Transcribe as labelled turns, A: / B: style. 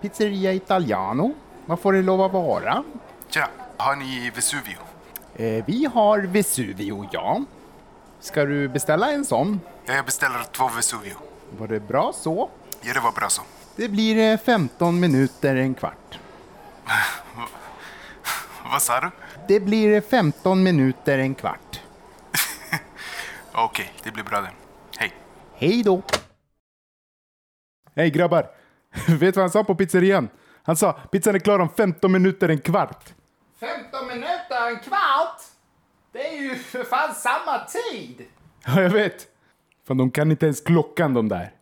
A: Pizzeria Italiano. Vad får det lov att vara?
B: Tja, har ni Vesuvio?
A: Eh, vi har Vesuvio, ja. Ska du beställa en sån?
B: Ja, jag beställer två Vesuvio.
A: Var det bra så?
B: Ja, det var bra så.
A: Det blir eh, 15 minuter, en kvart.
B: Vad sa du?
A: Det blir eh, 15 minuter, en kvart.
B: Okej, det blir bra det. Hej.
A: Hej då! Hej grabbar! Vet du vad han sa på pizzerian? Han sa pizzan är klar om 15 minuter, en kvart. 15 minuter, en kvart? Det är ju för fan samma tid! Ja, jag vet. Fan, de kan inte ens klockan de där.